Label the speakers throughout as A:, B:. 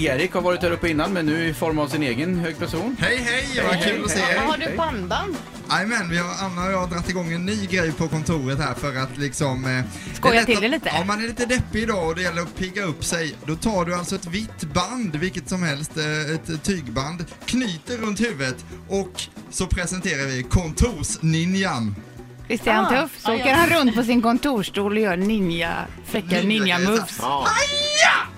A: Erik har varit här uppe innan, men nu i form av sin egen hög person.
B: Hej hej, vad kul att se
C: Har
B: er!
C: du bandband?
B: Jajamän, vi har- Anna och jag har dragit igång en ny grej på kontoret här för att liksom... eh,
C: Skoja
B: det är lätt
C: till
B: att-
C: det lite.
B: Om man är lite deppig idag och det gäller att pigga upp sig, då tar du alltså ett vitt band, vilket som helst, eh, ett tygband, knyter runt huvudet och så presenterar vi kontorsninjan.
D: Visst är han
C: Ah,
D: tuff? Så
C: ja,
D: åker
C: ja.
D: han runt på sin kontorsstol och gör ninja, fräcka
B: Ninja-grejer,
D: ninja-moves.
B: så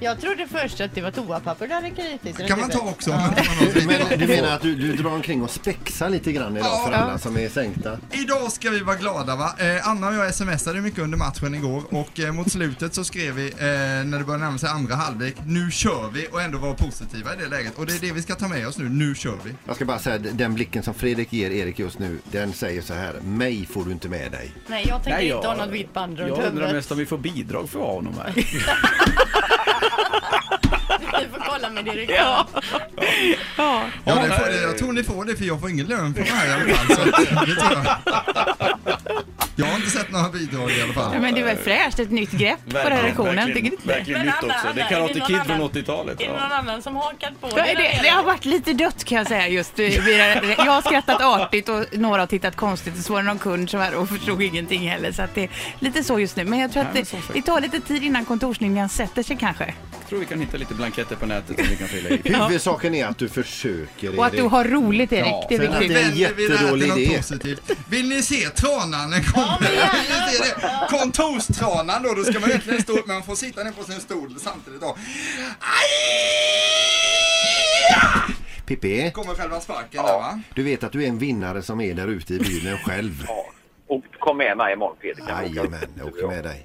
C: Jag trodde först att det var toapapper du hade kritiskt
B: här
C: runt
B: Kan man ta
C: huvudet.
B: också om man inte har något
E: Du
B: riktigt
E: menar, du
B: bra.
E: menar att du, du drar omkring och spexar lite grann idag för
B: Ja.
E: alla som är sänkta?
B: Idag ska vi vara glada va? Eh, Anna och jag smsade mycket under matchen igår och eh, mot slutet så skrev vi, eh, när det började närma sig andra halvlek, nu kör vi och ändå vara positiva i det läget. Och det är det vi ska ta med oss nu, nu kör vi.
E: Jag ska bara säga att den blicken som Fredrik ger Erik just nu, den säger så här, mig får du inte med dig.
C: Nej, jag tänker
A: jag-
C: inte ha något vitt band runt
A: Jag undrar
C: huvudet.
A: mest om vi får bidrag för att ha honom här.
C: Vi får kolla med direktören.
B: Ja, det får, det- jag tror ni får det för jag får ingen lön för det här i alla fall. Så, att, det tror jag. jag har inte sett några bidrag i alla fall.
D: Ja, men det är väl fräscht, ett nytt grepp på redaktionen, tycker du
A: verkligen,
D: inte?
A: verkligen
C: Men
A: nytt
C: Anna,
A: också. Det är
C: Anna, är
A: Karate
C: det
A: Kid
C: någon
A: från
C: annan?
A: 80-talet.
C: Är det någon
A: Ja.
C: annan som hakar på?
D: Ja,
C: den här
D: det, det har varit lite dött kan jag säga just. eh, vid det här. Jag har skrattat artigt och några har tittat konstigt och så var det någon kund som här och förstod ingenting heller. Så att det är lite så just nu. Men jag tror att
A: Ja, men
D: det,
A: så sagt.
D: det tar lite tid innan kontorslinjen sätter sig kanske.
A: Jag tror vi kan hitta lite blanketter på nätet som vi kan fylla i.
E: Huvudsaken är att du försöker Erik.
D: Och att du har roligt Erik,
E: Ja,
D: det är
E: sen att
D: viktigt.
E: det är
B: Vänder
E: en
B: vi det här till
E: jättedålig
B: något
E: idé.
B: positivt. Vill ni se tranan den kommer?
C: men gärna.
B: Vill ni se det? Kontorstranan då, då ska man egentligen stå upp men man får sitta ner på sin stol samtidigt då.
E: Pippi,
B: Kommer själva sparken där va?
E: du vet att du är en vinnare som är där ute i bilen själv.
F: Och kom med mig imorgon Peter. Kan vi åka
E: Jajamän,
F: ut?
E: jag åker med dig.